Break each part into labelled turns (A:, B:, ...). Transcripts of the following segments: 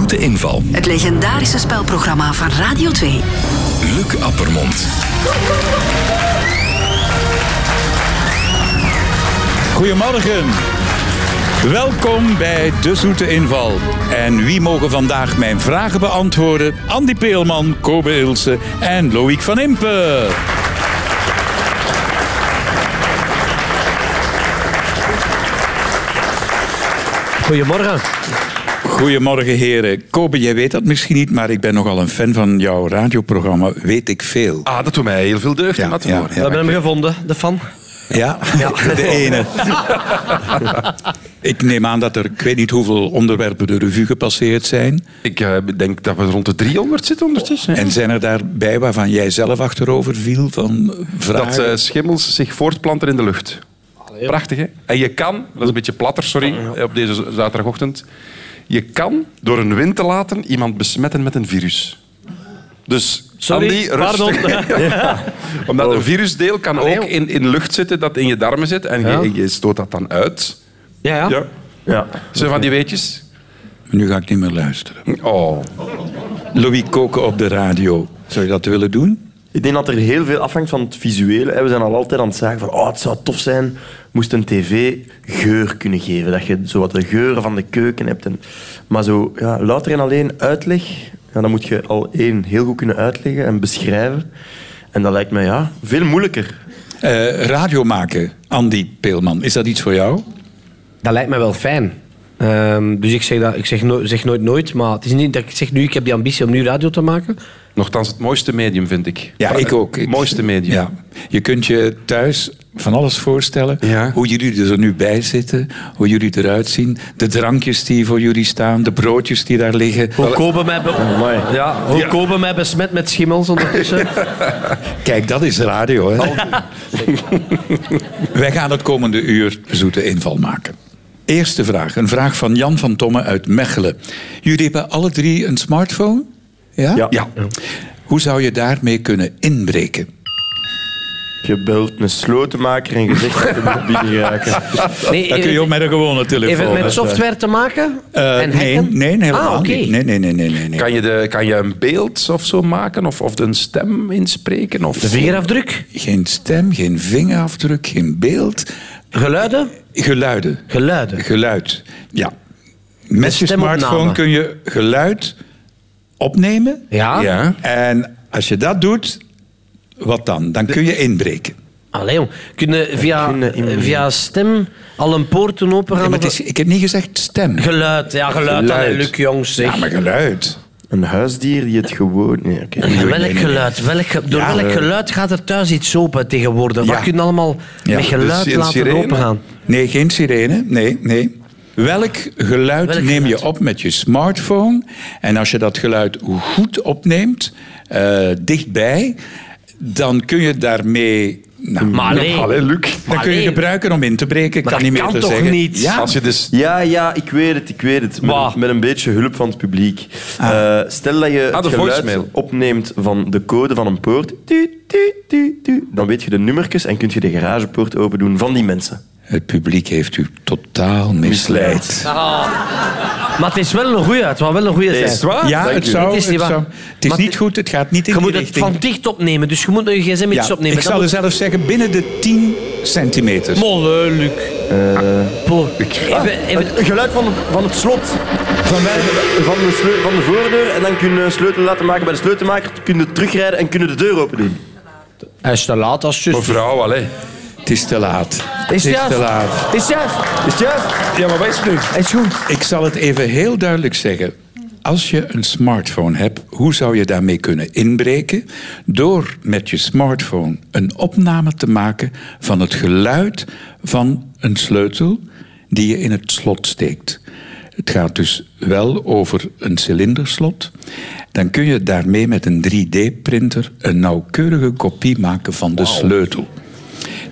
A: Grote inval.
B: Het legendarische spelprogramma van Radio 2.
A: Luc Appermond.
C: Goedemorgen. Welkom bij De Zoete Inval. En wie mogen vandaag mijn vragen beantwoorden? Andy Peelman, Kobe Ilse en Loïc van Impe.
D: Goedemorgen.
C: Goedemorgen heren. Kobe, jij weet dat misschien niet, maar ik ben nogal een fan van jouw radioprogramma Weet ik Veel.
E: Ah, dat doet mij heel veel deugd om dat te
C: ja,
E: horen.
C: ja.
D: We hebben hem gevonden, de fan.
C: Ja, de ene. ik neem aan dat er, ik weet niet hoeveel onderwerpen de revue gepasseerd zijn.
E: Ik eh, denk dat we rond de 300 zitten ondertussen.
C: En zijn er daarbij waarvan jij zelf achterover viel van vragen?
E: Dat eh, schimmels zich voortplanten in de lucht. Prachtig, hè? En je kan, dat is een beetje platter, sorry, eh, op deze z- zaterdagochtend. Je kan door een wind te laten iemand besmetten met een virus. Dus
D: Sorry,
E: Andy, rustig.
D: pardon.
E: Omdat
C: Oh.
E: een virusdeel kan
D: Allee,
E: ook
D: joh.
E: in, in lucht zitten dat in je darmen zit. En je-
D: Ja.
E: je, stoot dat dan uit.
D: Ja, ja.
E: Ja.
D: Ja.
E: Zo van die weetjes.
C: Nu ga ik niet meer luisteren.
E: Oh.
C: Louis Koken op de radio. Zou je dat willen doen?
F: Ik denk dat er heel veel afhangt van het visuele. hè. We zijn al altijd aan het zagen van oh, het zou tof zijn, moest een tv geur kunnen geven. Dat je zo wat de geuren van de keuken hebt. En, maar zo ja, louter en alleen uitleg, ja, dan moet je al één heel goed kunnen uitleggen en beschrijven. En dat lijkt me ja, veel moeilijker.
C: Eh, radio maken, Andy Peelman, is dat iets voor jou?
D: Dat lijkt mij wel fijn. Ehm, dus ik, zeg, dat, ik zeg, no- zeg nooit nooit, maar het is niet dat ik zeg nu ik heb die ambitie om nu radio te maken.
E: Nochtans het mooiste medium, vind ik.
C: Ja, ik ook.
E: Het
C: Ik-
E: mooiste medium.
C: Ja. Je kunt je thuis van alles voorstellen.
E: Ja.
C: Hoe jullie er nu bij zitten, hoe jullie eruit zien. De drankjes die voor jullie staan, de broodjes die daar liggen.
D: Hoe Kobe mij, be-
F: Amai.
D: ja, hoe Kobe mij besmet met schimmels ondertussen.
C: Kijk, dat is radio, hè? Wij gaan het komende uur zoete inval maken. Eerste vraag, een vraag van Jan van Tomme uit Mechelen. Jullie hebben alle drie een smartphone? Ja?
F: Ja.
C: Hoe zou je daarmee kunnen inbreken?
F: Je belt een slotenmaker en je zegt dat je moet binnenraken.
D: Nee,
C: Dat kun je ook met een gewone telefoon.
D: Even
C: hè.
D: met software te maken?
C: Eh,
D: en
C: nee,
D: hacken?
C: nee, helemaal
D: ah, oké.
C: niet. Nee, nee, nee, nee, nee, nee.
E: Kan je, de, kan je een beeld of zo maken? Of, of een stem inspreken? Of...
D: De vingerafdruk,
C: Geen stem, geen vingerafdruk, geen beeld.
D: geluiden,
C: Geluiden.
D: geluiden.
C: Geluid. Ja. Met je
D: stemopname.
C: smartphone kun je geluid opnemen.
D: Ja?
E: Ja.
C: En als je dat doet, wat dan? Dan kun je inbreken.
D: Allee, jong. Kunnen via,
F: kunnen inbreken.
D: via stem al een poorten open
C: Nee,
D: gaan?
C: maar het is, ik heb niet gezegd stem.
D: Ah, Geluid, ja, geluid.
C: Geluid.
D: Allee, Luc, jongens, zeg.
C: Ja, maar geluid.
F: Een huisdier die het gewoon... Nee, oké.
D: En
C: nee,
D: welk
C: nee.
D: geluid? Welk, ge- door
C: Ja,
D: welk
C: eh.
D: geluid gaat er thuis iets open tegenwoordig?
C: Ja.
D: Wat kun je allemaal
C: Ja,
D: met geluid
E: dus een
D: laten
E: sirene.
D: opengaan?
C: Nee, geen sirene. Nee, nee. Welk geluid
D: Welk
C: neem
D: geluid?
C: je op met je smartphone? En als je dat geluid goed opneemt, eh, dichtbij, dan kun je daarmee. Nou,
D: Maar nee.
E: Allee, Luc.
C: dan kun je
D: nee.
C: gebruiken om in te breken. kan
D: Maar dat
C: niet meer
D: kan
C: te
D: toch
C: zeggen.
D: niet?
C: Ja,
E: Als je dus...
F: Ja, ja, ik weet het, ik weet het. Met,
D: Wat?
F: met een beetje hulp van het publiek. Eh, stel dat je
E: Ah,
F: het
E: de
F: geluid
E: voicemail.
F: opneemt van de code van een poort. Tuut, tuut, tuut, tuut. dan weet je de nummertjes en kun je de garagepoort open doen van die mensen.
C: het publiek heeft u totaal misleid.
D: Maar het is wel een goeie, het was wel een goeie zijn.
E: waar?
C: Ja,
F: Dank
C: het,
F: u.
C: zou,
D: Het
C: het,
D: is niet waar.
C: zou- het is
D: Maar
C: niet
D: het-
C: goed, het gaat niet in
D: Je
C: die
D: moet het
C: richting.
D: van dicht opnemen, dus je moet je gsm iets
C: Ja,
D: opnemen.
C: ik
D: Dan
C: zal er
D: moet-
C: zelf zeggen, binnen de 10 centimeter.
D: Molle, eh, Luc. Poh. Eh, Even, even,
F: Een geluid van, de- van het slot.
C: Van mij-
F: Ah. Van de, sleu- van de voordeur. En dan kun je sleutel laten maken bij de sleutelmaker. Kunnen terugrijden en kunnen de deur open doen.
D: Hij is te laat als zus.
E: Mevrouw, allee.
C: Het is te laat.
D: Is
C: het is
D: juist.
C: te laat.
D: Het is juist.
F: Is het juist?
E: Ja, maar wat is het nu?
D: Het is goed.
C: Ik zal het even heel duidelijk zeggen. Als je een smartphone hebt, hoe zou je daarmee kunnen inbreken? Door met je smartphone een opname te maken van het geluid van een sleutel die je in het slot steekt. Het gaat dus wel over een cilinderslot. Dan kun je daarmee met een 3D-printer een nauwkeurige kopie maken van de sleutel.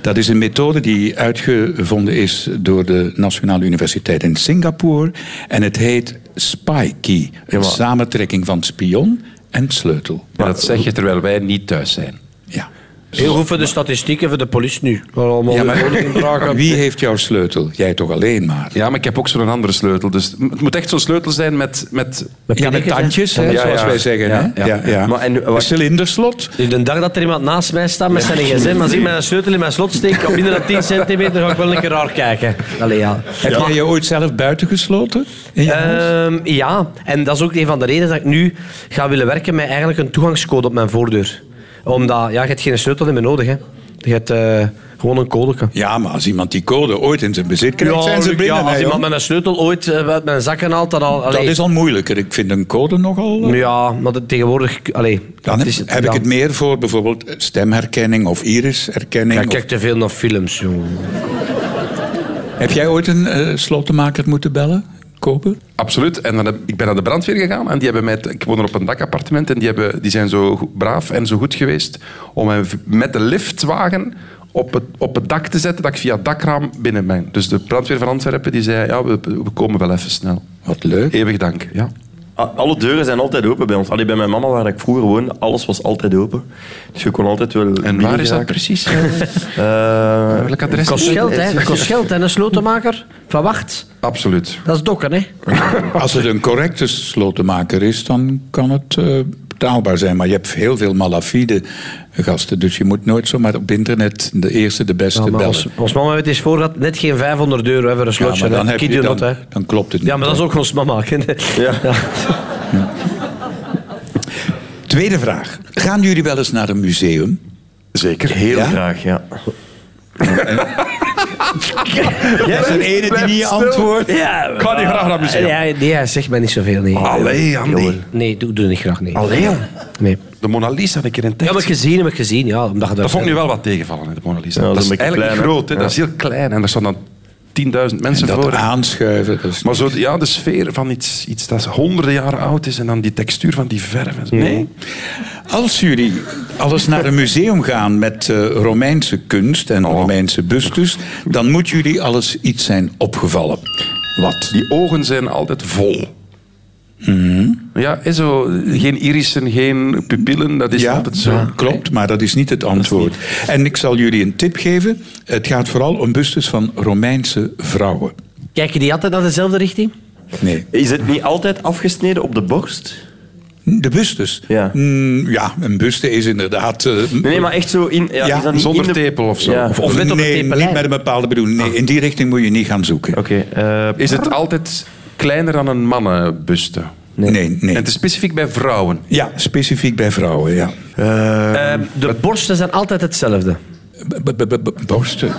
C: Dat is een methode die uitgevonden is door de Nationale Universiteit in Singapore. En het heet Spy Key. Een samentrekking van spion en sleutel.
E: Maar dat zeg je terwijl wij niet thuis zijn.
C: Ja.
D: Heel goed voor de statistieken, voor de politie nu. Allemaal
C: Ja, maar-
D: woningen dragen.
C: Wie heeft jouw sleutel? Jij toch alleen maar?
E: Ja, maar ik heb ook zo'n andere sleutel. Dus het moet echt zo'n sleutel zijn met... met
C: Ja, met
D: knikkers, hè?
C: tandjes, hè,
E: Ja,
C: zoals
E: ja.
C: wij zeggen.
E: Ja,
C: hè?
E: ja.
F: Maar en,
C: Een
F: wat,
C: cilinderslot.
D: Dus de dag dat er iemand naast mij staat met zijn gsm, als ik mijn sleutel in mijn slot steek op minder dan 10 centimeter, ga ik wel een keer raar kijken. Allee, ja.
C: Heb jij je ooit zelf buiten gesloten? In je huis?
D: Ehm, ja, en dat is ook een van de redenen dat ik nu ga willen werken met eigenlijk een toegangscode op mijn voordeur. Omdat, ja, je hebt geen sleutel in meer nodig, hè. Je hebt eh, gewoon een code.
C: Ja, maar als iemand die code ooit in zijn bezit krijgt, zijn ze
D: Luc,
C: binnen.
D: ja, als
C: hè,
D: iemand
C: joh.
D: met een sleutel ooit eh, uit mijn zakken haalt, dan al...
C: Dat
D: allee.
C: is al moeilijker. Ik vind een code nogal... eh,
D: Ja, maar dat tegenwoordig... Allee,
C: Dan
D: dat
C: heb,
D: is
C: heb ik
D: ja.
C: het meer voor bijvoorbeeld stemherkenning of irisherkenning.
D: Ja, ik
C: of-
D: kijk te veel naar films, jongen.
C: Heb jij ooit een eh, slotenmaker moeten bellen? Kopen?
E: Absoluut. En dan heb, ik ben naar de brandweer gegaan en die hebben mij... t- Ik woon er op een dakappartement en die, hebben, die zijn zo goed- braaf en zo goed geweest om mij v- met de liftwagen op het, op het dak te zetten dat ik via het dakraam binnen ben. Dus de brandweer van Antwerpen die zei, ja, we, we komen wel even snel.
C: Wat leuk.
E: Eeuwig dank. Ja.
F: a- Ah, alle deuren zijn altijd open bij ons. Allee, bij mijn mama, waar ik vroeger woonde, alles was altijd open. Dus je kon altijd wel... Eh,
E: En waar is dat precies? Eh, Welk adres?
D: Kost geld, hè. Dat kost geld, hè. Een slotenmaker. Van wacht,
E: Absoluut.
D: dat is dokken, hè.
C: Als het een correcte slotenmaker is, dan kan het eh, betaalbaar zijn. Maar je hebt heel veel malafide gasten, dus je moet nooit zomaar op internet de eerste, de beste
D: Ja, maar
C: bellen.
D: ons, ons mama heeft eens voorgehad, net geen 500 euro hè, voor een
C: Ja,
D: slotje.
C: maar dan,
D: hè.
C: heb
D: Kid
C: je,
D: you
C: dan,
D: not, hè.
C: dan klopt het niet.
D: Ja, maar dat is ook ons mama. hè.
F: Ja.
C: Tweede vraag. Gaan jullie wel eens naar een museum?
F: Zeker. Heel
C: Ja?
F: graag, ja.
C: dat is een ene die niet antwoordt.
D: Ja,
E: Ik ga niet graag naar museum.
D: ja, nee, hij zegt mij niet zoveel. Nee,
E: Allee, Andy.
F: Jawel.
D: nee doe, doe niet graag. Nee.
E: Allee, jong.
D: Nee.
E: De Mona Lisa een keer in
D: Ja,
E: tekst.
D: maar gezien, heb ik gezien. Ja, omdat je
E: Dat vond ik nu wel wat tegenvallen, hè, de Mona Lisa.
F: Ja,
E: dat,
F: dat
E: is
F: is een beetje
E: eigenlijk
F: klein, hè?
E: groot, hè. dat is heel klein. En daar staan dan 10.000
C: En
E: mensen voor.
C: dat aanschuiven. dat is-
E: Maar zo, ja, de sfeer van iets, iets dat honderden jaren oud is en dan die textuur van die verf. en
F: Mhm.
E: zo. Nee.
C: Als jullie alles naar een museum gaan met eh, Romeinse kunst en Romeinse bustes, dan moet jullie alles iets zijn opgevallen. Wat?
E: Die ogen zijn altijd vol. Mhm. Ja, is zo, geen irissen, geen pupillen, dat is
C: Ja,
E: altijd zo.
C: klopt, maar dat is niet het antwoord. En ik zal jullie een tip geven. Het gaat vooral om bustes van Romeinse vrouwen.
D: Kijken die altijd naar dezelfde richting?
C: Nee,
F: Is het niet altijd afgesneden op de borst?
C: de bustes.
F: Ja.
C: Mm, ja, een buste is inderdaad... eh,
F: Nee, nee, maar echt zo in... Ja,
C: Ja,
F: is dat niet
E: Zonder
F: in de...
E: tepel of zo.
F: Ja.
E: Of-
D: of net op de
C: nee,
D: tepelijn.
C: niet met een bepaalde bedoeling. Nee, in die richting moet je niet gaan zoeken.
F: Oké. eh,
E: Is het altijd kleiner dan een mannenbuste?
C: Nee, nee.
E: En het is specifiek bij vrouwen.
C: Ja, specifiek bij vrouwen, ja.
D: de borsten zijn altijd hetzelfde.
C: B- b- b- b- Borsten.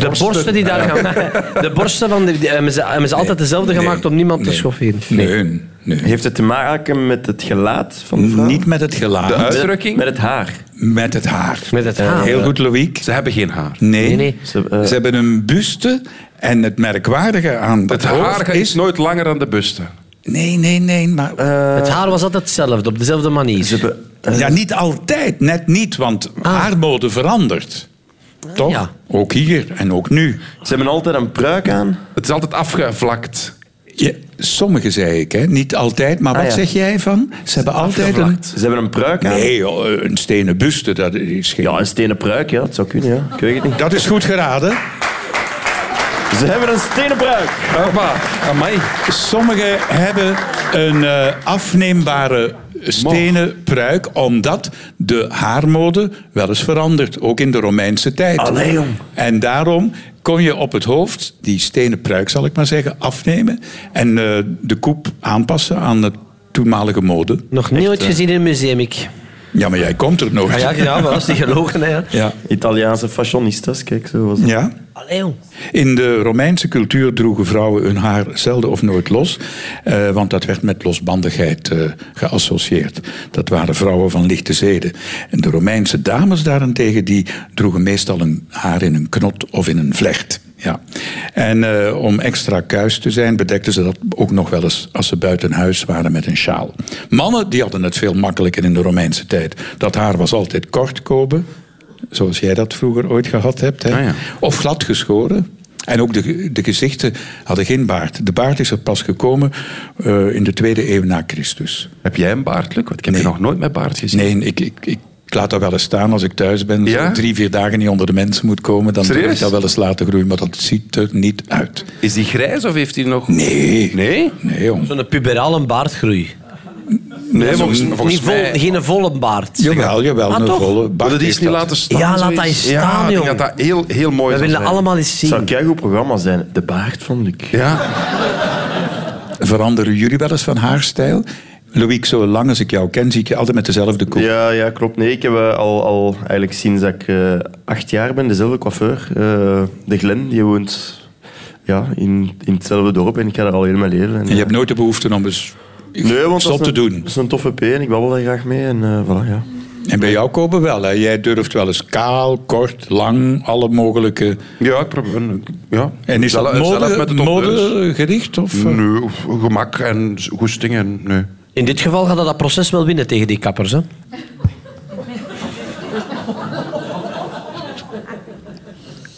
D: De borsten die daar gaan... De borsten van die, die hebben, ze, hebben ze altijd dezelfde gemaakt om niemand te
C: nee.
D: schofferen.
C: Nee, nee.
F: heeft het te maken met het gelaat van de vrouw?
C: Niet met het gelaat,
E: De huid?
F: Met-
E: Uitdrukking?
F: Met het haar.
C: met het haar. Eh,
D: Met het haar.
C: Heel goed, Loïc.
E: Ze hebben geen haar.
C: Nee.
D: Nee, nee.
F: Ze, eh,
C: Ze hebben een buste en het merkwaardige aan het,
E: Het
C: hoofd
E: haar
C: is...
E: is nooit langer dan de buste.
C: Nee, nee, nee, maar...
D: Het haar was altijd hetzelfde, op dezelfde manier. eh.
C: ja, niet altijd, net niet, want haarmode verandert. Toch?
D: Ah. ja.
C: Ook hier en ook nu.
F: Ze hebben altijd een pruik aan.
E: Het is altijd afgevlakt.
C: Ja, sommige zei ik, hè. niet altijd,
D: Ah,
C: maar wat
F: ja.
C: zeg jij van? Ze hebben altijd een...
F: Ze hebben een pruik aan.
C: Nee, joh, een stenen buste, dat is geen...
F: Ja, een stenen pruik, ja. Het zou kunnen, ja. Ik weet het niet.
C: Dat is goed geraden.
F: Ze hebben een stenen pruik.
E: Hoppa, amai.
C: Sommigen hebben een eh, afneembare stenen pruik, omdat de haarmode wel eens verandert, ook in de Romeinse tijd.
F: Allee, jong.
C: En daarom kon je op het hoofd die stenen pruik, zal ik maar zeggen, afnemen en eh, de koep aanpassen aan de toenmalige mode.
D: Nog nooit gezien in een museum, ik.
C: Ja, maar jij komt er nog.
D: Ah, ja, ja, maar dat is niet gelogen, hè.
C: ja.
F: Italiaanse fashionistas, kijk, zo was het.
C: ja.
D: Allee, jong.
C: In de Romeinse cultuur droegen vrouwen hun haar zelden of nooit los, eh, want dat werd met losbandigheid eh, geassocieerd. Dat waren vrouwen van lichte zeden. En de Romeinse dames daarentegen, die droegen meestal hun haar in een knot of in een vlecht. Ja. En eh, om extra kuis te zijn, bedekten ze dat ook nog wel eens als ze buiten huis waren met een sjaal. Mannen die hadden het veel makkelijker in de Romeinse tijd. Dat haar was altijd kort kopen, zoals jij dat vroeger ooit gehad hebt. Hè?
E: Ah, ja.
C: Of glad geschoren. En ook de, de gezichten hadden geen baard. De baard is er pas gekomen eh, in de tweede eeuw na Christus.
E: Heb jij een baard, Luc? Want ik heb je nog nooit met baard gezien.
C: Nee, ik, ik, ik Ik laat dat wel eens staan als ik thuis ben.
E: Ja?
C: Zo drie, vier dagen niet onder de mensen moet komen. Dan
E: Serieus?
C: durf ik dat wel eens laten groeien. Maar dat ziet er niet uit.
E: Is die grijs of heeft hij nog...
C: Nee.
E: Nee?
C: Nee, jong.
D: Zo'n puberale baardgroei.
E: Nee, volgens, volgens
D: Niet vol,
E: mij...
D: Geen volle baard.
C: Jawel, jawel.
D: Ah,
C: een
D: toch?
C: volle
E: Wil
C: bak
E: je die
C: is
E: eens niet
C: dat.
E: laten staan?
D: Ja, laat
E: zoiets?
D: hij staan,
E: ja, ik denk dat
D: jong.
E: dat heel, heel mooi
D: We
E: zou
D: willen
E: zijn.
D: allemaal eens
F: Het zou
D: zien.
F: een keigoed programma zijn. De baard van Luc.
E: Ja,
C: Veranderen jullie wel eens van haarstijl? Loïc, zo lang als ik jou ken, zie ik je altijd met dezelfde kop.
F: Ja, ja, klopt. Nee, ik heb eh, al, al eigenlijk sinds dat ik eh, acht jaar ben dezelfde coiffeur. eh, de Glen, die woont ja, in, in hetzelfde dorp en ik ga daar al heel mijn leven. En,
C: En je hebt nooit de behoefte om eens
F: nee, want
C: stop
F: dat
C: te
F: is een,
C: doen.
F: Dat is een toffe P en ik babbel daar graag mee. En, eh, voilà, ja.
C: En bij jou kopen wel. Hè? Jij durft wel eens kaal, kort, lang, alle mogelijke.
E: ja ik probeer... Ja.
C: En is
E: Zelf-
C: dat
E: zelf
C: mode,
E: met de topneus.
C: modegericht? Of, eh?
E: Nee, of gemak en goesting en... Nee.
D: In dit geval gaat dat, dat proces wel winnen tegen die kappers. Hè?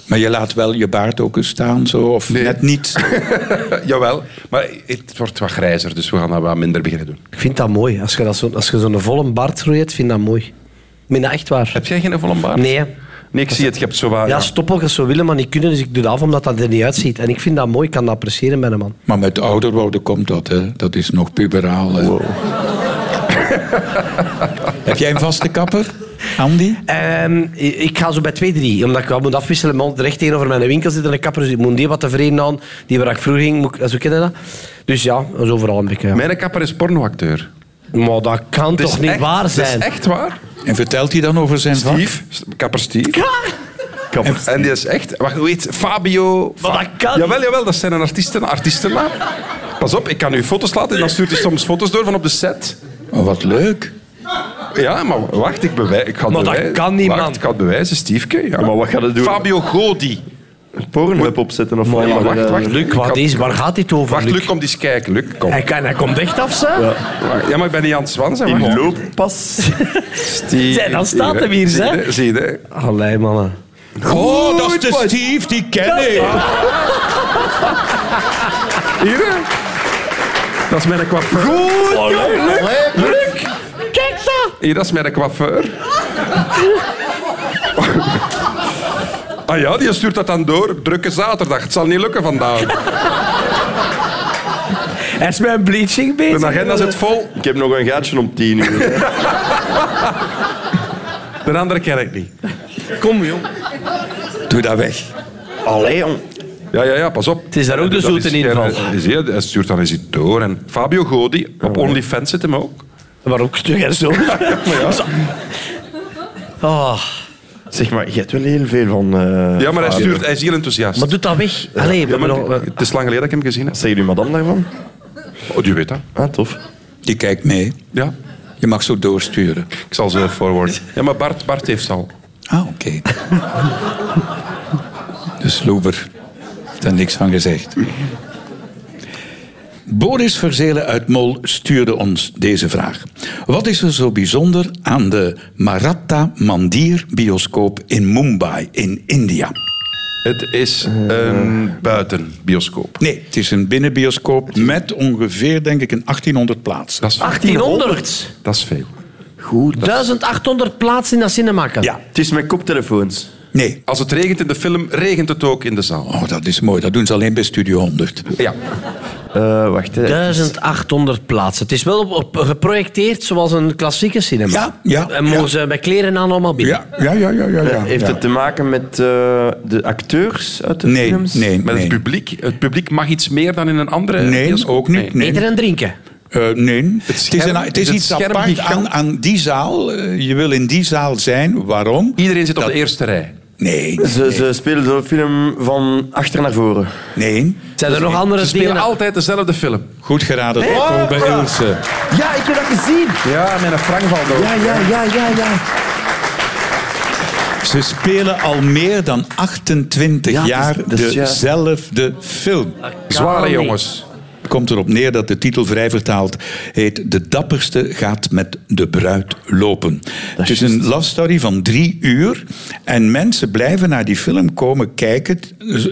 C: Maar je laat wel je baard ook eens staan, zo, of
E: Nee.
C: net niet.
E: Jawel, maar het wordt wat grijzer, dus we gaan dat wat minder beginnen doen.
D: Ik vind dat mooi. Als je, dat zo, als je zo'n volle baardgroei hebt, vind ik dat mooi. Ik meen dat echt waar.
E: Heb jij geen volle baard?
D: Nee. hè.
E: Nee, ik zie het. Je hebt zo wat...
D: Ja,
E: ja.
D: stoppelgers zo willen, maar niet kunnen. Dus ik doe dat af omdat dat er niet uitziet. En ik vind dat mooi. Ik kan dat appreciëren bij een man.
C: Maar met ouder worden komt dat, hè. Dat is nog puberaal. hè. Heb jij een vaste kapper, Andy?
D: Ehm, ik ik ga zo bij twee, drie. Omdat ik wel moet afwisselen. Maar recht tegenover mijn winkel zit een kapper. Dus ik moet die wat tevreden aan. Die waar ik vroeger ging, moet ik, zo kennen dat. Dus ja, dat is overal een beetje. ja.
E: Mijn kapper is pornoacteur.
D: Maar dat kan
E: Het is
D: toch niet
E: echt-
D: waar zijn?
E: Het is echt waar.
C: En vertelt hij dan over zijn vak?
E: Steve, kapper Steve. Kapper. En die is echt... Wacht, hoe heet Fabio...
D: Maar
E: Fa-
D: dat kan
E: Jawel, jawel, dat zijn een artiesten, artiestennaam. Pas op, ik kan u foto's laten en dan stuurt hij soms foto's door van op de set.
C: Oh, wat leuk.
E: Ja, maar wacht, ik, bewij ik ga
D: Maar dat
E: bewijzen.
D: kan niet,
E: Wacht,
D: man.
E: ik ga het bewijzen, Steveke. Ja.
F: Maar wat gaat het doen? Oh,
E: Fabio Godi.
F: Een Pornhub opzetten of eh,
E: Maar
F: wat?
E: wacht, wacht.
D: Luc, wat is, waar gaat dit over?
E: Wacht,
D: Luc?
E: Luc, kom eens kijken. Luc, kom.
D: Hij, kan, hij komt echt af, ze?
E: Wacht, Ja, maar ik ben niet aan het zwansen.
F: In
E: wacht.
F: looppas.
E: Steve-
D: Zij, dan staat hem hier,
E: Zie je
D: hè?
E: dat? Zie je dat?
D: Allee, mannen.
C: Oh, dat is
E: Goed,
C: de
E: boys.
C: Steve, die ken ik.
E: Hier, hè? Dat is mijn coiffeur. Goed, Luc. Luc.
D: Kijk dat!
E: Hier, dat is mijn coiffeur. Ah ja, die stuurt dat dan door. Drukke zaterdag. Het zal niet lukken vandaag.
D: Hij is met een bleaching bezig.
E: De agenda zit vol.
F: Ik heb nog een gaatje om tien uur.
E: De andere ken ik niet.
D: Kom, jong.
C: Doe dat weg.
F: Allee, jong.
E: Ja, ja, ja, pas op. Het
D: is daar ook de zoete inval.
E: Hij stuurt dan eens iets door. En Fabio Godi, op OnlyFans zit hem ook.
D: Maar ook terug en zo. Zo. Ah,
F: Zeg maar, je hebt wel heel veel van... eh,
E: Ja, maar hij,
F: Fabio.
E: stuurt, hij is heel enthousiast.
D: maar doet dat weg. Allee, eh, we
E: Ja, maar
D: hebben nog-
E: het is lang geleden dat ik hem gezien heb.
F: Wat zeggen jullie madame daarvan?
E: Oh, die weet dat.
F: Ah, tof.
C: Die kijkt mee.
E: Ja,
C: Je mag zo doorsturen.
E: ik zal ze forward. Ja, maar Bart, Bart heeft ze al.
C: Ah, oké. de sloeber. Heeft daar niks van gezegd. Boris Verzelen uit Mol stuurde ons deze vraag. Wat is er zo bijzonder aan de Maratta Mandir bioscoop in Mumbai in India?
E: Het is
C: Eh.
E: een buitenbioscoop.
C: Nee, het is een binnenbioscoop met ongeveer, denk ik, een 1800 plaatsen.
E: Dat is,
D: 1800.
E: dat is veel.
D: 1800 plaatsen in dat cinemaken.
C: Ja.
F: Het is met koptelefoons.
C: Nee.
E: Als het regent in de film, regent het ook in de zaal.
C: Oh, dat is mooi. Dat doen ze alleen bij Studio 100.
E: Ja.
F: Eh, wacht, hè.
D: 1800 plaatsen. Het is wel op, op- geprojecteerd zoals een klassieke cinema.
C: Ja, ja,
D: En mogen
C: ja.
D: ze met kleren aan allemaal binnen.
C: Ja, ja, ja, ja, ja. ja.
F: Eh, Heeft
C: ja.
F: het te maken met eh, de acteurs uit de
C: Nee,
F: films?
C: nee,
E: Met
C: nee.
E: het publiek. Het publiek mag iets meer dan in een andere
C: Nee,
E: bioscoop.
C: ook niet. Nee.
D: Eten en drinken.
C: Eh, nee, het, is,
E: scherm-
C: een- het is
E: is het
C: iets
E: scherm
C: apart
E: gigant?
C: aan, aan die zaal. Eh, je wil in die zaal zijn. Waarom?
E: Iedereen zit op
C: Dat-
E: de eerste rij.
C: Nee,
F: Ze, ze spelen zo'n film van achter naar voren.
C: nee.
D: Zijn er nog
C: Dus-
D: andere
E: Ze spelen
D: dingen?
E: altijd dezelfde film.
C: Goed geraden door Koen bij Ilse.
F: Ja, ik heb dat gezien.
E: Ja, met een Frank van
F: Ja, ja, ja, ja, ja.
C: Ze spelen al meer dan 28
F: Ja, dat is-
C: jaar
F: dat is juist.
C: dezelfde film.
E: Zware
D: niet.
E: jongens.
C: komt erop neer dat de titel vrij vertaald heet De dapperste gaat met de bruid lopen. Het is een love story van drie uur en mensen blijven naar die film komen kijken.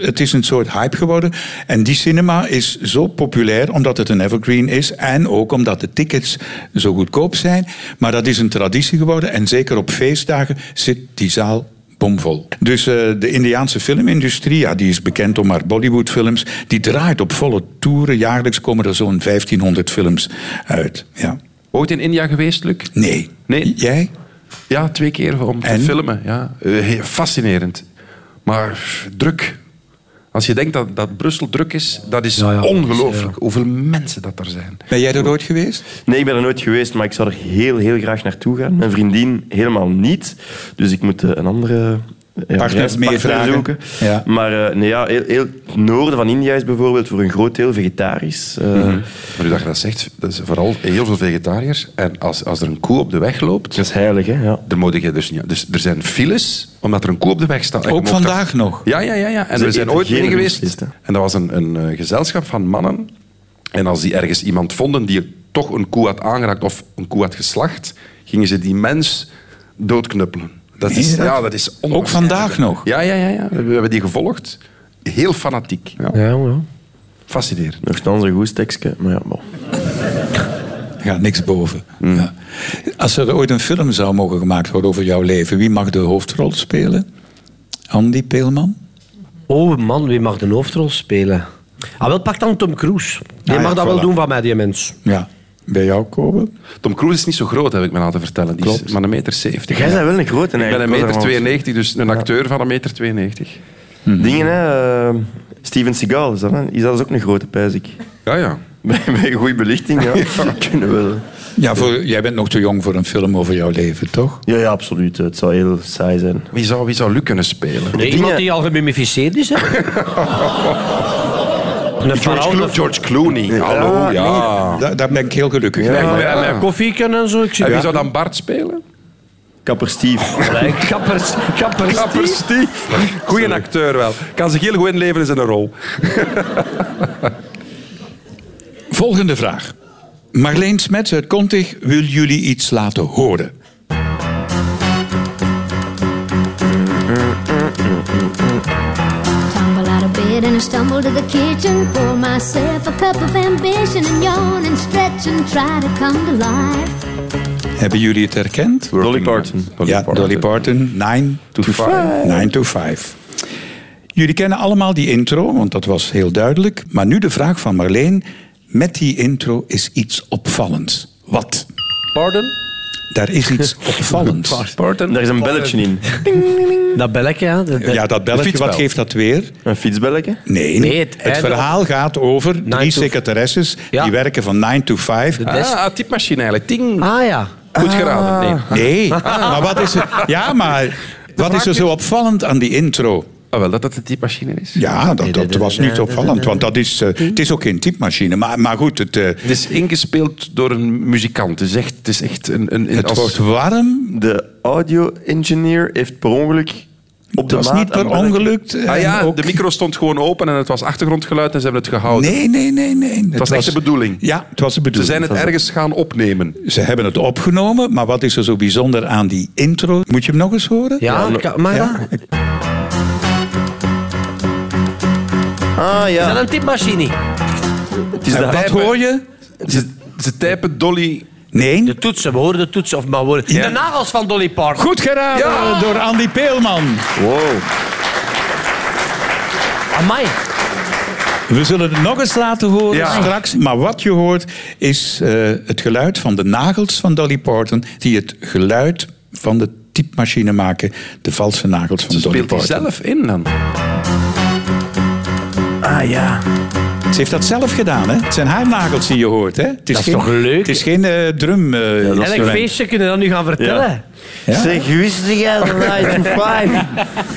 C: Het is een soort hype geworden en die cinema is zo populair omdat het een evergreen is en ook omdat de tickets zo goedkoop zijn. Maar dat is een traditie geworden en zeker op feestdagen zit die zaal bomvol. Dus eh, de Indiaanse filmindustrie, ja, die is bekend om haar Bollywoodfilms, die draait op volle toeren. Jaarlijks komen er zo'n 1500 films uit. Ja.
E: Ooit in India geweest, Luc?
C: Nee.
E: Nee.
C: Jij?
E: Ja, twee keer om te
C: En?
E: filmen. Ja. Eh, heel fascinerend. Maar druk. Als je denkt dat, dat Brussel druk is, dat is
D: Ja, ja,
E: ongelooflijk.
D: ja.
E: Hoeveel mensen dat er zijn.
C: Ben jij er ooit geweest?
F: Nee, ik ben er nooit geweest, maar ik zou er heel, heel graag naartoe gaan. Mijn vriendin helemaal niet. Dus ik moet eh, een andere eh,
C: Partner
F: reispartner
C: meevragen.
F: zoeken.
C: Ja.
F: Maar eh, nee, ja, heel, heel het noorden van India is bijvoorbeeld voor een groot deel vegetarisch. Eh,
E: Mhm. Maar nu dat je dat zegt, dat is vooral heel veel vegetariërs. En als, als er een koe op de weg loopt,
F: Dat is heilig, hè? Ja.
E: dan moet je dus niet... Dus er zijn files, omdat er een koe op de weg staat. En je
C: Ook
E: mag daar-
C: vandaag nog.
E: Ja, ja, ja. ja. En
F: Ze
E: we zijn
F: eten
E: ooit
F: geen
E: mee geweest.
F: roestbeest, hè?
E: En dat was een, een eh, gezelschap van mannen. En als die ergens iemand vonden die toch een koe had aangeraakt of een koe had geslacht, gingen ze die mens doodknuppelen. Dat
C: Meen je
E: is,
C: dat?
E: ja, dat is onwaarschijnlijk.
C: vandaag nog?
E: Ja, ja, ja, ja. We hebben die gevolgd. Heel fanatiek. Ja.
D: Ja, ja.
E: Fascinerend.
F: Nochtans een goed tekstje, maar ja, bon.
C: Er gaat niks boven. Ja. Als er ooit een film zou mogen gemaakt worden over jouw leven, wie mag de hoofdrol spelen? Andy Peelman?
D: Oh man, wie mag de hoofdrol spelen? Ah, wel, pak dan Tom Cruise. Die
C: Ah,
D: mag
C: ja,
D: dat wel
C: voilà.
D: doen van mij, die mens.
C: Ja. Bij jou komen?
E: Tom Cruise is niet zo groot, heb ik me laten vertellen. Die is maar een meter zeventig.
F: Jij bent wel een grote
E: Ik ben een
F: eigenlijk.
E: meter 92, dus een acteur van een meter 92.
F: Dingen, hè? eh, Steven Seagal, is dat, hè? Is dat dus ook een goede pijs ik?
E: Ja, ja.
F: Bij, bij goede belichting, ja. Kunnen we.
C: Ja, voor, jij bent nog te jong voor een film over jouw leven, toch?
F: Ja, ja, absoluut. Het zou heel saai zijn.
E: Wie zou, wie zou Luc kunnen spelen?
D: Nee,
F: Dingen-
D: iemand die al gemummificeerd is, hè? Een
E: George,
D: vrouw,
E: Clo- George Clooney. Hallo, ja.
C: Daar, daar ben ik heel gelukkig mee.
E: Ja.
D: een- een koffie kunnen en zo. Ik zie
E: En wie
D: Ja.
E: zou dan Bart spelen?
F: Kapper Steve.
D: Kappers, kappers.
E: Kapper Steve. Goeie acteur wel. Kan zich heel goed inleven in zijn rol.
C: Volgende vraag. Marleen Smets uit Kontig wil jullie iets laten horen.
G: Tumble out of bed and I stumble to the kitchen. Pour myself a cup of ambition and yawn and stretch and try to come to life.
C: Hebben jullie het herkend?
F: Dolly Parton.
C: ja, Dolly Parton, 9 to 5. 9 to 5. Jullie kennen allemaal die intro, want dat was heel duidelijk. Maar nu de vraag van Marleen. Met die intro is iets opvallends. Wat?
E: Pardon?
C: Daar is iets opvallends.
E: Parton?
F: Daar is een belletje in.
D: Dat belletje, ja. Dat, dat-
C: Ja, dat belletje, wat geeft dat weer?
F: Een fietsbelletje?
C: Nee,
D: Nee, het
C: het, eh,
D: einde-
C: verhaal gaat over drie
D: to-
C: secretaresses
D: Ja.
C: die werken van 9 to 5.
D: Des-
E: Ah, typemachine eigenlijk. Ting.
D: Ah ja.
E: Goed geraden. Nee.
C: Nee, maar wat is er, ja, maar wat is er zo opvallend aan die intro?
E: Ah, wel, dat dat de typemachine is.
C: Ja, dat, dat was niet opvallend, want dat is, eh, het is ook geen typemachine. Maar, maar goed, het, eh,
E: Het is ingespeeld door een muzikant. Het is echt, het is echt een... een, een
C: het
E: als-
C: wordt warm.
F: De audio-engineer heeft per ongeluk op
C: Het
F: de
C: was
F: maat
C: niet
F: een
C: per
F: belletje.
C: ongeluk. eh,
E: Ah ja,
C: en ook-
E: de micro stond gewoon open en het was achtergrondgeluid en ze hebben het gehouden.
C: Nee, nee, nee, nee. Het,
E: was echt de bedoeling.
C: Ja, het was de
E: Ze
C: bedoeling.
E: zijn het ergens gaan opnemen.
C: Ze hebben het opgenomen, maar wat is er zo bijzonder aan die intro? Moet je hem nog eens horen?
D: Ja, ka- maar ja.
C: Ja.
F: Ah
D: Is dat
F: ja.
D: een tipmachine?
F: Het is
C: En
F: de
C: wat
E: hebben-
C: hoor je?
E: Ze, ze typen Dolly...
C: Nee.
D: De toetsen, we horen de toetsen. Of maar we horen...
C: Ja.
D: De nagels van Dolly Parton.
C: Goed geraden
D: Ja.
C: door Andy Peelman.
F: Wow.
D: Amai.
C: We zullen het nog eens laten horen
E: Ja.
C: straks. Maar wat je hoort is eh, het geluid van de nagels van Dolly Parton... die het geluid van de typmachine maken. De valse nagels van
E: Ze
C: Dolly
E: speelt die
C: Parton.
E: zelf in dan.
F: Ah ja.
C: Ze heeft dat zelf gedaan. Hè? Het zijn haar nagels die je hoort. Hè? Het is
D: Dat is
C: geen,
D: toch leuk?
C: Het is geen eh, drum. eh,
D: Elk
C: instrument.
D: feestje kunnen we dat nu gaan vertellen.
F: Ja.
C: Ja?
F: Zeg, wist jij dat 9 to 5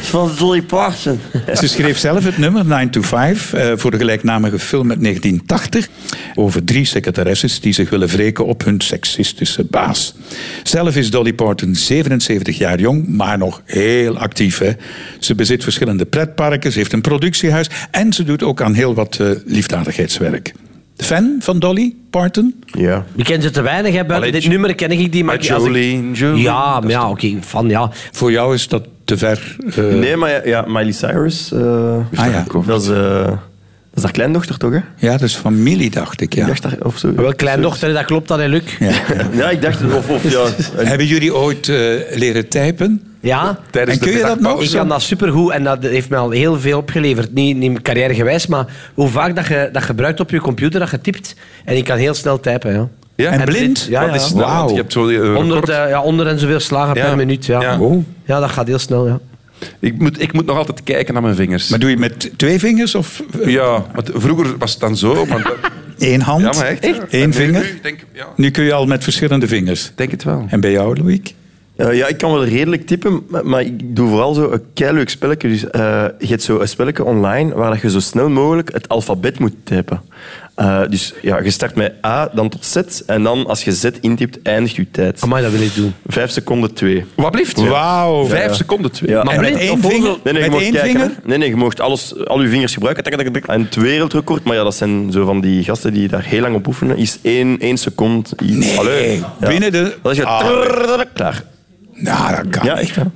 F: is van Dolly Parton?
C: Ze schreef zelf het nummer 9 to 5 eh, voor de gelijknamige film uit 1980 over drie secretaresses die zich willen wreken op hun seksistische baas. Zelf is Dolly Parton 77 jaar jong, maar nog heel actief. Hè? Ze bezit verschillende pretparken, ze heeft een productiehuis en ze doet ook aan heel wat eh, liefdadigheidswerk. Fan van Dolly Parton?
F: Ja.
D: Ik ken ze te weinig. Hè. Buiten
E: Allee,
D: dit
E: Jo-
D: nummer ken ik die. Maar
E: Ah,
D: ik- als ik-
E: Jolene, Jolene.
D: Ja, maar ja, oké. van, ja.
C: Voor jou is dat te ver. eh,
F: Nee, maar ja, ja, Miley Cyrus. eh,
C: Ah, ja.
F: dat, is, eh, dat is haar kleindochter toch, hè?
C: Ja, dat is familie, dacht ik. Ja. Ah,
F: Ik dacht daar, of zo.
D: Wel kleindochter, dat klopt, dat hè, Luc. Ja.
F: Ja, ik dacht, of, of ja.
C: Hebben jullie ooit eh, leren typen?
E: Tijdens
C: en
E: de
C: kun je dat nog?
D: Ik kan dat supergoed en dat heeft mij al heel veel opgeleverd. Niet, niet carrièregewijs, maar hoe vaak dat je dat gebruikt op je computer, dat je typt. En ik kan heel snel typen, ja.
E: Ja?
C: En
E: En
C: blind?
D: Ja,
E: Dat is
D: ja.
E: snel, want
C: Wauw.
E: Je hebt zo die, eh,
D: Onder,
E: record.
D: de- ja, onder en zoveel slagen
E: Ja.
D: per minuut, ja.
E: Ja.
D: Ja.
C: Oh.
D: dat gaat heel snel, ja.
E: ik, moet, ik moet nog altijd kijken naar mijn vingers.
C: Maar doe je met twee vingers of eh,
E: ja, want vroeger was het dan zo. Maar dat-
C: één hand?
E: ja, maar echt. hè. En
C: Eén
E: nu-
C: vinger?
E: Nu, denk, ja, ik
C: Nu kun je al met verschillende vingers.
E: denk het wel.
C: En bij jou, Louis?
F: Eh, ja, ik kan wel redelijk typen, maar, maar ik doe vooral zo een keileuk spelletje. Dus, eh, je hebt zo een spelletje online waar dat je zo snel mogelijk het alfabet moet typen. Eh, dus ja, je start met A, dan tot Z. En dan als je Z intypt, eindigt je tijd.
D: Amai, dat wil ik doen.
F: Vijf seconden twee.
E: Wat blieft?
C: Wauw.
E: Vijf
F: Ja.
E: seconden, twee.
F: Ja.
E: Maar
C: En met
D: blind,
C: één
D: of hoeveel-
C: vinger?
F: Nee, nee, je
C: met
F: mocht
C: één
F: kijken.
C: vinger?
F: hè. Nee, nee, je mocht alles, al je vingers gebruiken. Tak, tak, tak. En het wereldrecord, maar ja, dat zijn zo van die gasten die daar heel lang op oefenen, is één, één seconde. iets.
C: Nee, binnen de-
F: Dat is je...
C: Ah.
F: trrrrrrrr, Klaar.
C: Nou, dat kan
F: Ja,
C: niet.
F: echt waar.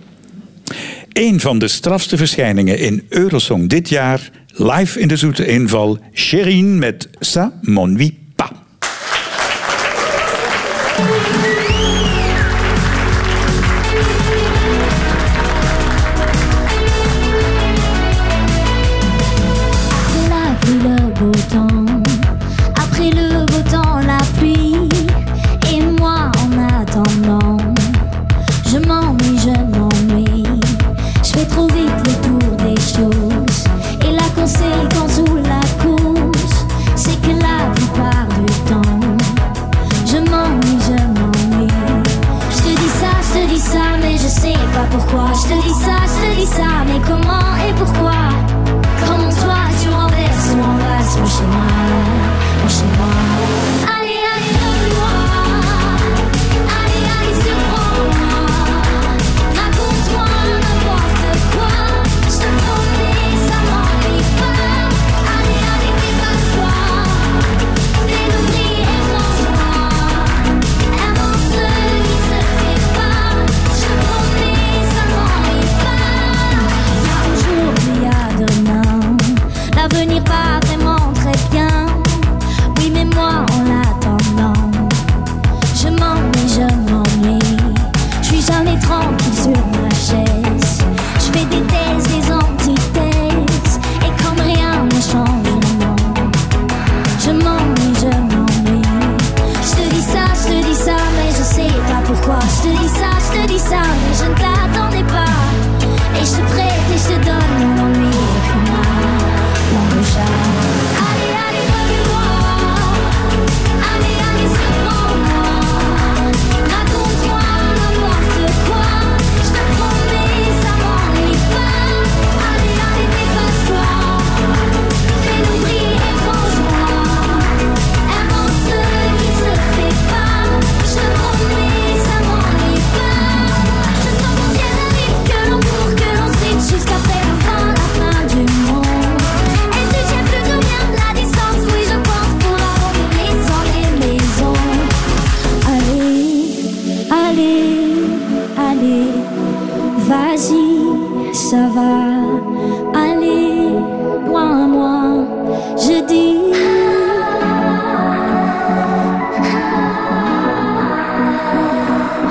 C: Een van de strafste verschijningen in Eurosong dit jaar. Live in de zoete inval. Sherine met Sa Mon Vie Pas.
G: Après la pluie, le beau temps. Après le beau temps, la pluie. Et moi, en attendant, je m'ennuie, je m'ennuie. Je fais trop vite le tour des choses. Et la conséquence ou la cause, c'est que la plupart du temps, je m'ennuie, je m'ennuie. Je te dis ça, je te dis ça, mais je sais pas pourquoi. Je te dis ça, je te dis ça, mais comment et pourquoi? Quand mon toit, tu renverses mon vase, mon chez moi, mon chez moi. Allez, allez, donne-moi. Allez, allez, surprends-moi. Raconte-moi n'importe quoi. Je te promets, ça m'ennuie pas. Allez, allez, dépasse-toi. Fais-nous briller, franchement. Avant ce qui se fait pas, je promets ça m'ennuie pas. Aujourd'hui à demain, l'avenir pas vraiment très bien. Oui mais moi en l'attendant, je m'ennuie, je m'ennuie. Je suis jamais tranquille sur ma chaise. Je fais des thèses, des antithèses, et comme rien ne change le monde. Je m'ennuie, je m'ennuie. Je te dis ça, je te dis ça, mais je sais pas pourquoi. Je te dis ça, je te dis ça, mais je ne t'attendais pas. Et je te prête et je te donne mon ennui. Et puis moi, mon beau chat. Allez, allez, reviens-moi. Allez, allez, surprends-moi. Raconte-moi n'importe quoi. Je te promets, ça m'ennuie pas. Allez, allez, dépasse-toi. Fais-nous briller, franchement. Avant ce qui se fait pas, je promets, ça m'ennuie pas. Je sens qu'on s'y arrive, que l'on court, que l'on s'étire jusqu'après la fin, la fin du monde. Et tu tiens plus combien de la distance, oui, je pense, pour abandonner sans les maisons. Allez, allez, allez, vas-y, ça va. Allez, loin, moi, je dis.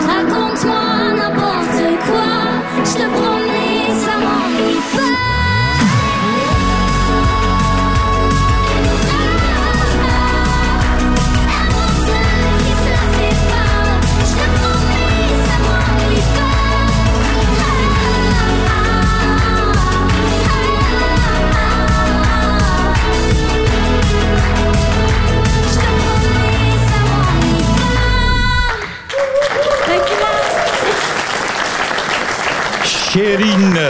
G: Raconte-moi n'importe quoi, je te promets, ça m'ennuie pas. Avant ceux qui se fait pas, je te promets, ça m'ennuie pas. Je te promets, ça m'ennuie pas.
C: Sherine.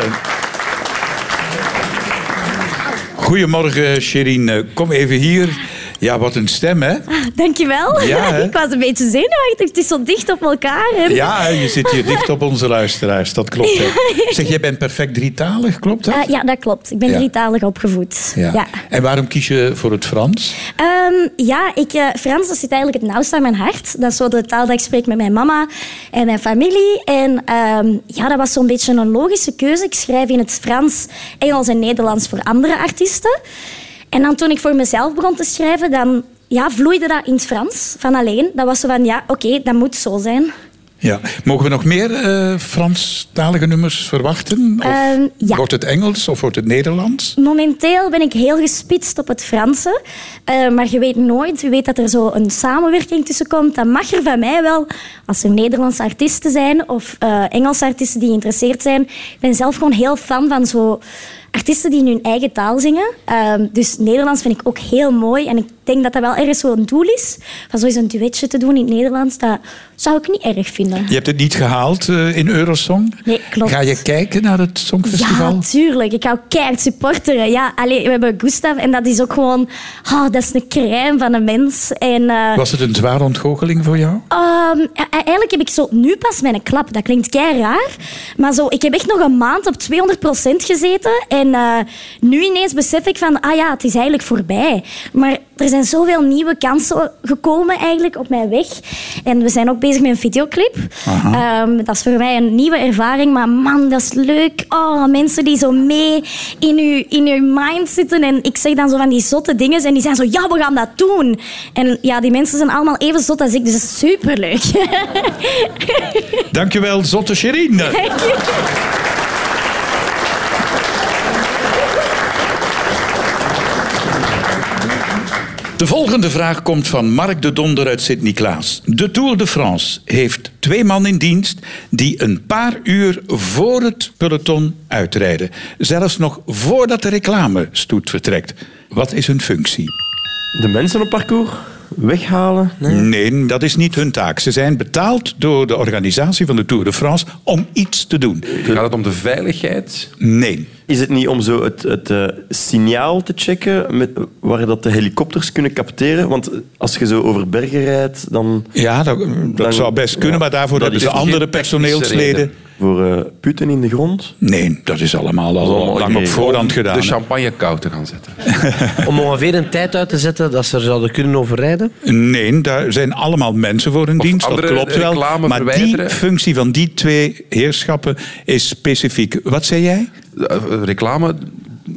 C: Goedemorgen, Sherine. Kom even hier. Ja, wat een stem, hè?
H: Dankjewel.
C: Ja, hè?
H: ik was een beetje zenuwachtig. Het is zo dicht op elkaar. hè.
C: Ja, je zit hier dicht op onze luisteraars. Dat klopt. Hè. Zeg, jij bent perfect drietalig, klopt dat?
H: Eh, ja, dat klopt. Ik ben
C: Ja.
H: drietalig opgevoed.
C: Ja.
H: Ja.
C: En waarom kies je voor het Frans?
H: Ehm, ja, ik, eh, Frans dat zit eigenlijk het nauwst aan mijn hart. Dat is zo de taal dat ik spreek met mijn mama en mijn familie. En ehm, ja, dat was zo'n beetje een logische keuze. Ik schrijf in het Frans, Engels en Nederlands voor andere artiesten. En dan toen ik voor mezelf begon te schrijven, dan ja, vloeide dat in het Frans van alleen. Dat was zo van, ja, oké, dat moet zo zijn.
C: Ja. Mogen we nog meer eh Franstalige nummers verwachten? Of
H: Ehm, ja.
C: Wordt het Engels of wordt het Nederlands?
H: Momenteel ben ik heel gespitst op het Franse. Eh, maar je weet nooit, je weet dat er zo een samenwerking tussen komt. Dat mag er van mij wel, als er Nederlandse artiesten zijn of eh, Engelse artiesten die geïnteresseerd zijn. Ik ben zelf gewoon heel fan van zo artiesten die in hun eigen taal zingen. Ehm, dus Nederlands vind ik ook heel mooi. En ik denk dat dat wel ergens zo'n doel is. Van zo eens een duetje te doen in het Nederlands, dat zou ik niet erg vinden.
C: Je hebt het niet gehaald eh, in Eurosong.
H: Nee, klopt.
C: Ga je kijken naar het Songfestival?
H: Ja, tuurlijk. Ik hou keihard supporteren. Ja, allee, we hebben Gustav en dat is ook gewoon... ah, dat is een crème van een mens. En, eh,
C: Was het een zware ontgoocheling voor jou?
H: ehm, e- e- eigenlijk heb ik zo nu pas mijn klap. Dat klinkt kei raar. Maar zo, ik heb echt nog een maand op 200% gezeten. En eh, nu ineens besef ik van... Ah ja, het is eigenlijk voorbij. Maar er zijn zoveel nieuwe kansen gekomen eigenlijk op mijn weg. En we zijn ook bezig met een videoclip. Ehm, dat is voor mij een nieuwe ervaring. Maar man, dat is leuk. Oh, mensen die zo mee in uw, in uw mind zitten. En ik zeg dan zo van die zotte dingen. En die zijn zo, ja, we gaan dat doen. En ja, die mensen zijn allemaal even zot als ik. Dus dat is superleuk.
C: Dankjewel, Zotte Sherine. De volgende vraag komt van Mark de Donder uit Sint-Niklaas. De Tour de France heeft twee man in dienst die een paar uur voor het peloton uitrijden. Zelfs nog voordat de reclamestoet vertrekt. Wat is hun functie?
F: De mensen op parcours weghalen. Nee.
C: Nee, dat is niet hun taak. Ze zijn betaald door de organisatie van de Tour de France om iets te doen.
E: Gaat het om de veiligheid?
C: Nee.
F: Is het niet om zo het, het eh, signaal te checken met, waar dat de helikopters kunnen capteren? Want als je zo over bergen rijdt, dan
C: Ja, dat, dat
F: Dan-
C: zou best kunnen,
F: ja,
C: maar daarvoor
F: dat
C: hebben ze
F: is geen
C: andere
E: technische
C: personeelsleden.
E: reden.
F: voor eh, putten in de grond.
C: Nee, dat is allemaal al
F: allemaal
C: lang op
F: geregeld.
C: voorhand gedaan.
E: De champagne koud te gaan zetten.
D: Om ongeveer een tijd uit te zetten dat ze er zouden kunnen overrijden.
C: Nee, daar zijn allemaal mensen voor hun
E: Of
C: dienst, dat
E: andere
C: klopt wel.
E: reclame
C: Maar die
E: verwijderen.
C: functie van die twee heerschappen is specifiek. Wat zei jij?
E: Eh, Reclame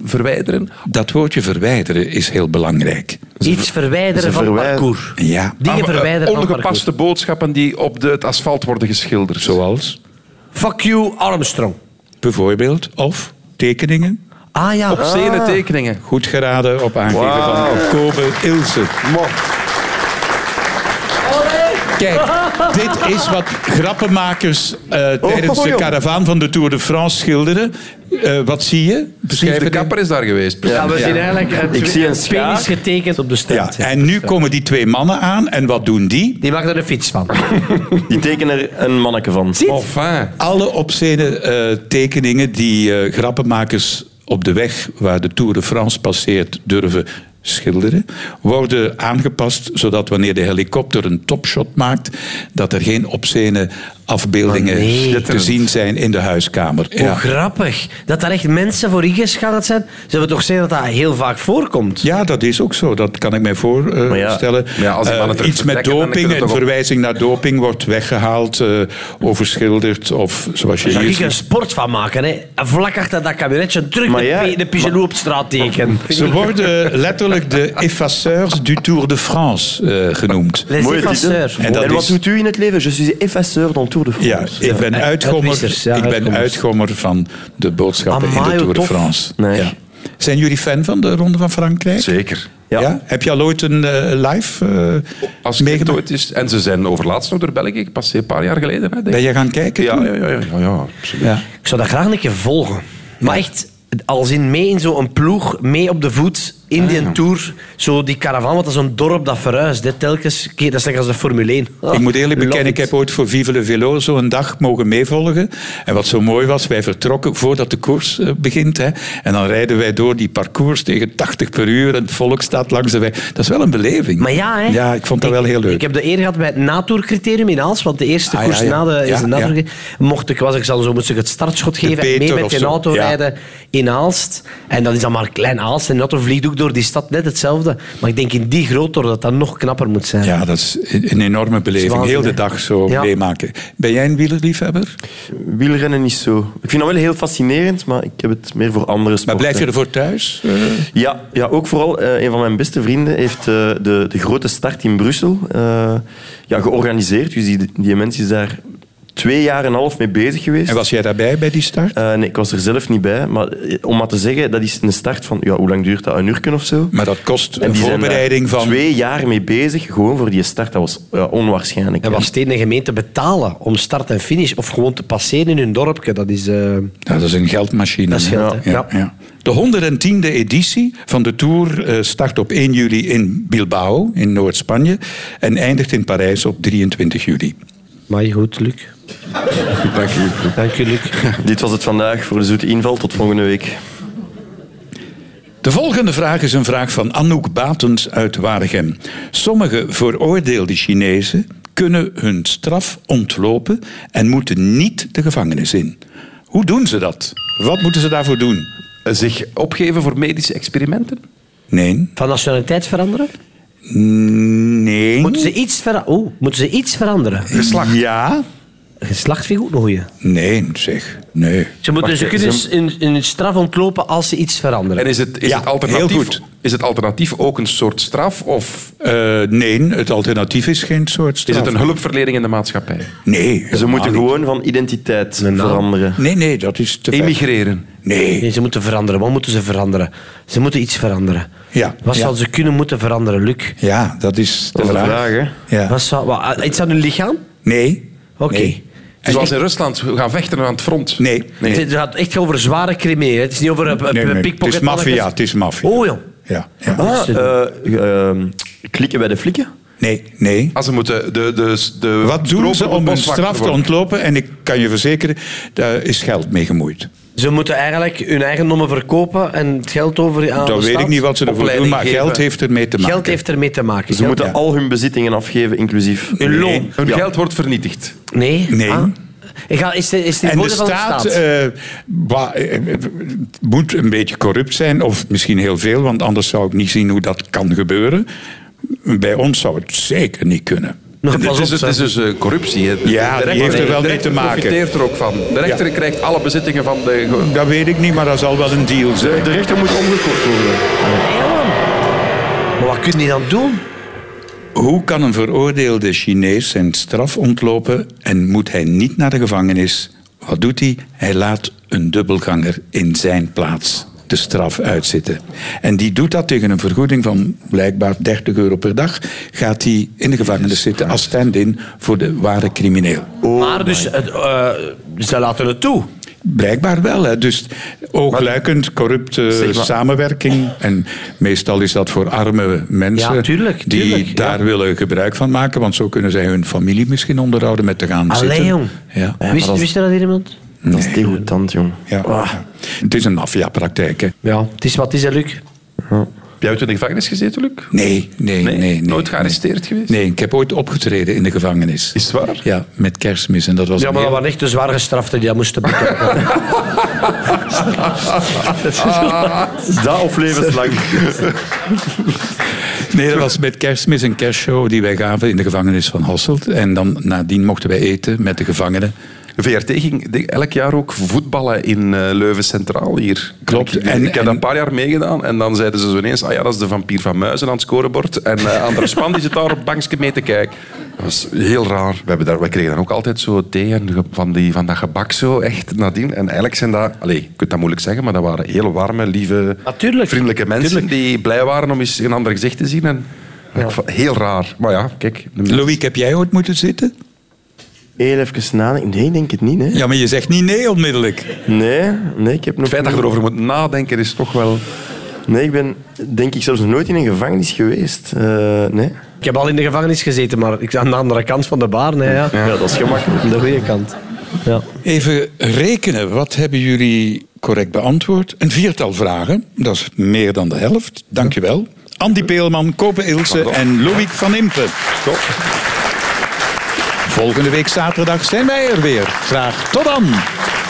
E: verwijderen.
C: Dat woordje verwijderen is heel belangrijk.
D: Iets verwijderen van het
F: verwijder-
D: parcours.
C: Ja,
D: Dingen
E: Ah, eh,
D: verwijderen van het parcours.
E: Ongepaste boodschappen die op de, het asfalt worden geschilderd.
C: zoals
D: Fuck you, Armstrong.
C: bijvoorbeeld, of tekeningen.
D: Ah ja.
E: Op scène tekeningen.
C: Goed geraden op aangeven van Kobe Ilse. Kijk, dit is wat grappenmakers eh, tijdens de
F: joh.
C: karavaan van de Tour de France schilderen. Eh, wat zie je?
E: Steve
C: Beschrijf
E: de
C: het
E: kapper is daar geweest. precies.
D: Ja, we zien eigenlijk een,
F: Ik zie een schaar.
D: penis getekend op de
C: Ja,
D: straat.
C: en nu komen die twee mannen aan en wat doen die?
D: Die maakt er een fiets van.
F: Die tekenen er een manneke van.
E: Enfin.
C: Alle obscene eh, tekeningen die eh, grappenmakers op de weg waar de Tour de France passeert durven schilderen, worden aangepast zodat wanneer de helikopter een topshot maakt, dat er geen obscene afbeeldingen
D: Maar nee.
C: te zien zijn in de huiskamer.
D: Hoe grappig. Dat daar echt mensen voor ingeschakeld zijn. Ze hebben toch gezien dat dat heel vaak voorkomt.
C: Ja, dat is ook zo. Dat kan ik mij
F: Maar ja,
C: voorstellen.
E: maar ja, als die
C: Eh,
E: mannen terug
C: iets met
E: vertrekken, dan
C: doping,
E: kunnen
C: een
E: we toch op-
C: verwijzing naar doping wordt weggehaald, eh, overschilderd of zoals je
D: Daar
C: hier
D: zou ik een
C: ziet.
D: sport van maken. Hè. En Vlak achter dat kabinetje terug
F: Maar
D: de,
F: ja,
D: pi- de pigeonhoe op straat tekenen.
C: Ze worden letterlijk de effaceurs du Tour de France eh, genoemd.
D: Les
F: Mooie
D: effaceurs.
F: titel.
C: En
F: En,
C: dat
F: wat
C: is-
F: doet u in het leven? Je suis effaceur dans le Tour de
C: Ja,
F: France.
C: ik ben
D: Ja,
C: uitgommer,
D: uitwissers, ja,
C: ik ben
D: uitgommers.
C: uitgommer van de boodschappen in de
D: Amai,
C: Tour de
D: tof.
C: France.
F: Nee.
C: Ja. Zijn jullie fan van de Ronde van Frankrijk?
E: Zeker.
C: Ja.
F: Ja.
C: Heb je al ooit een eh, live eh,
E: Als het
C: meegemaakt?
E: ooit is. En ze zijn overlaatst nog door België gepasseerd, een paar jaar geleden. Hè, denk
C: Ben
E: ik.
C: je gaan kijken?
E: Ja,
C: toen?
E: ja, ja, ja, ja, ja, absoluut.
C: Ja.
D: Ik zou dat graag een keer volgen. Maar echt, als in mee in zo'n ploeg, mee op de voet,
C: Ah,
D: in die tour, zo die caravan, want dat is een dorp dat verhuist. Dit telkens, keer- dat is lekker als de Formule 1.
C: ik moet eerlijk
D: Love
C: bekennen, ik
D: it.
C: heb ooit voor Vive le Velo zo'n dag mogen meevolgen. En wat zo mooi was, wij vertrokken voordat de koers eh, begint. Hè. En dan rijden wij door die parcours tegen 80 per uur en het volk staat langs de weg. Dat is wel een beleving.
D: Maar ja, hè?
C: Ja, ik vond dat wel heel leuk.
D: Ik heb de eer gehad bij het Natour-criterium in Aals, want de eerste
C: Ah, ja,
D: koers
C: ja.
D: na de, is
C: Ja,
D: de Natour. Mocht ik, was ik dan zo, moest ik het startschot geven en mee
C: Peter
D: met
C: of
D: die
C: zo,
D: auto
C: ja.
D: rijden in Aalst. En dat is dan maar een klein Aalst. En de auto vliegt ook door die stad net hetzelfde. Maar ik denk in die grootte dat dat nog knapper moet zijn.
C: Ja, dat is een een enorme beleving.
D: waanzin,
C: Heel de
D: hè?
C: dag zo
D: Ja.
C: meemaken. Ben jij een wielerliefhebber?
F: Wielrennen niet zo. Ik vind dat wel heel fascinerend, maar ik heb het meer voor andere sporten.
C: Maar blijf je ervoor thuis? Eh,
F: Ja, ja ook vooral eh, een van mijn beste vrienden heeft eh, de, de grote start in Brussel eh, ja, georganiseerd. Dus die, die mens is daar twee jaar en een half mee bezig geweest.
C: en was jij daarbij bij die start?
F: Eh, nee, ik was er zelf niet bij. Maar eh, om maar te zeggen, dat is een start van... Ja, hoe lang duurt dat? Een uur of zo?
C: Maar dat kost
F: En
C: een
F: die zijn
C: voorbereiding
F: daar
C: van...
F: Twee jaar mee bezig, gewoon voor die start. Dat was ja, onwaarschijnlijk.
D: En wat steden en gemeenten betalen om start en finish of gewoon te passeren in hun dorpje, dat is... eh,
C: Ja, dat is een geldmachine.
D: Dat is geld,
C: ja.
D: hè?
C: Ja, ja. De 110e editie van de Tour eh, start op 1 juli in Bilbao, in Noord-Spanje, en eindigt in Parijs op 23 juli.
D: Maar goed, Luc.
F: Dank u.
D: Dank je, Luc.
F: Dit was het vandaag voor de Zoete Inval. Tot volgende week.
C: De volgende vraag is een vraag van Anouk Batens uit Waregem. Sommige veroordeelde Chinezen kunnen hun straf ontlopen en moeten niet de gevangenis in. Hoe doen ze dat? Wat moeten ze daarvoor doen?
E: Zich opgeven voor medische experimenten?
C: Nee.
D: Van nationaliteit veranderen?
C: Nee.
D: Moeten ze iets, vera- oh, moeten ze iets veranderen?
E: Geslacht.
C: Ja.
D: Geslacht vind ik ook een goeie.
C: Nee, zeg. Nee.
D: Ze, moeten,
F: Wacht,
D: ze kunnen
F: ze-
D: hun, hun straf ontlopen als ze iets veranderen.
E: En is het, is,
C: Ja,
E: het alternatief,
C: heel goed.
E: is het alternatief ook een soort straf? Of
C: Eh, nee, het alternatief is geen soort
E: is
C: straf.
E: het een hulpverlening in de maatschappij?
C: Nee. helemaal
F: Ze moeten
C: niet.
F: gewoon van identiteit
D: naam.
F: veranderen.
C: Nee, nee, dat is te ver.
E: Emigreren.
C: Nee.
D: Nee, ze moeten veranderen. Wat moeten ze veranderen? Ze moeten iets veranderen.
C: Ja,
D: Wat
C: ja.
D: zouden ze kunnen moeten veranderen, Luc?
C: Ja, dat is de
F: Dat is de
C: vraag.
F: vraag, hè?
C: Ja.
D: Wat zou, wat, iets aan hun lichaam?
C: Nee.
D: Oké.
C: Nee.
E: Zoals in Rusland, we gaan vechten aan het front.
C: Nee. nee.
D: Het eh, gaat echt over zware criminelen. Het is niet over een
C: Nee, nee, Het
D: pickpocket.
C: is maffia, het is maffia.
D: Oh joh.
C: Ja, ja.
F: Ah, eh, eh, klikken bij de flikken?
C: Nee, nee.
E: Als ze moeten de, de, de
C: Wat doen ze
E: stropen
C: om
E: op
C: een
E: boswachter
C: straf te
E: worden?
C: ontlopen? En ik kan je verzekeren, daar is geld mee gemoeid.
D: Ze moeten eigenlijk hun eigendommen verkopen en het geld over aan
C: Dan
D: de
C: weet
D: staat.
C: ik niet wat ze ervoor doen,
E: opleiding
C: maar
E: geven.
C: geld heeft ermee te maken.
D: Geld heeft ermee te maken.
F: Ze
D: Geld-
F: moeten
C: ja.
F: al hun bezittingen afgeven, inclusief...
D: Hun
C: Nee.
D: loon.
E: Hun
F: Ja.
E: geld wordt vernietigd.
D: Nee?
C: Nee.
D: Ah. Ik ga, is de, is de
C: En de
D: voordeel van
C: staat,
D: de staat?
C: eh, wa- eh, moet een beetje corrupt zijn, of misschien heel veel, want anders zou ik niet zien hoe dat kan gebeuren. Bij ons zou het zeker niet kunnen.
D: Nog
E: Het
D: pas op,
E: is, het
D: zeg.
E: is dus eh, corruptie. hè. De-
C: Ja,
E: de
C: die
E: rechter-
C: heeft er wel
E: de
C: mee
E: rechter
C: te maken.
E: profiteert er ook van. De rechter krijgt alle bezittingen van de... ge-
C: Dat weet ik niet, maar dat zal wel een deal zijn.
F: De rechter moet omgekort worden.
D: Maar wat kun je dan doen?
C: Hoe kan een veroordeelde Chinees zijn straf ontlopen en moet hij niet naar de gevangenis? Wat doet hij? Hij laat een dubbelganger in zijn plaats de straf uitzitten. En die doet dat tegen een vergoeding van blijkbaar 30 euro per dag. Gaat hij in de gevangenis zitten als stand-in voor de ware crimineel.
D: maar dus, het, eh, ze laten het toe.
C: Blijkbaar wel. Hè. Dus oogluikend, corrupte samenwerking. En meestal is dat voor arme mensen
D: Ja, tuurlijk, tuurlijk,
C: die
D: ja.
C: daar willen gebruik van maken. Want zo kunnen zij hun familie misschien onderhouden met te gaan
D: Allee,
C: zitten.
D: jong.
C: Ja.
F: maar
D: wist,
F: dat is-
D: wist je Oh. dat hier iemand?
F: Dat is degoutant, jong.
C: Ja. ja. Het is een maffiapraktijk. hè.
D: Ja, het is wat het is, hè, Luc.
E: Heb jij ooit in de gevangenis gezeten, Luc?
C: Nee, nee, nee. nee,
E: Nooit gearresteerd geweest?
C: Nee, ik heb ooit opgetreden in de gevangenis.
E: Is het waar?
C: Ja, met kerstmis. En dat was
D: Ja,
C: een
D: maar dat
C: heel-
D: waren echt de zware gestraften die dat moesten betalen.
F: Dat of levenslang.
C: Nee, dat was met kerstmis een kerstshow die wij gaven in de gevangenis van Hasselt. En dan nadien mochten wij eten met de gevangenen.
E: VRT ging de- elk jaar ook voetballen in eh, Leuven Centraal hier.
C: Klopt.
E: Ik, ik
C: En-
E: heb dat
C: en-
E: een paar jaar meegedaan en dan zeiden ze zo ineens, ah ja, dat is de vampier van Muizen aan het scorebord. En eh André Span die zit daar op het bankje mee te kijken. Dat was heel raar. We, hebben daar, we kregen dan ook altijd zo thee en ge- van, die, van dat gebak zo echt nadien. En eigenlijk zijn dat, allee, je kunt dat moeilijk zeggen, maar dat waren heel warme, lieve,
D: Natuurlijk.
E: vriendelijke mensen die blij waren om eens een ander gezicht te zien. En, ik vond- Heel raar. Maar ja, kijk. de-
C: Louis, heb jij ooit moeten zitten?
F: Heel even nadenken. Nee, ik denk het niet, hè.
C: Ja, maar je zegt niet nee onmiddellijk.
F: Nee, nee, ik heb nog
E: Het feit dat je
F: niet-
E: erover moet nadenken is toch wel...
F: Nee, ik ben denk ik zelfs nog nooit in een gevangenis geweest. Eh, nee.
D: Ik heb al in de gevangenis gezeten, maar ik aan de andere kant van de baan. Hè, ja.
F: Ja, dat is gemakkelijk.
D: Aan de goede kant. Ja.
C: Even rekenen. Wat hebben jullie correct beantwoord? Een viertal vragen. Dat is meer dan de helft. Dankjewel. Andy Peelman, Kopen Ilse en Loïc van Impen. Volgende week zaterdag zijn wij er weer. Graag tot dan.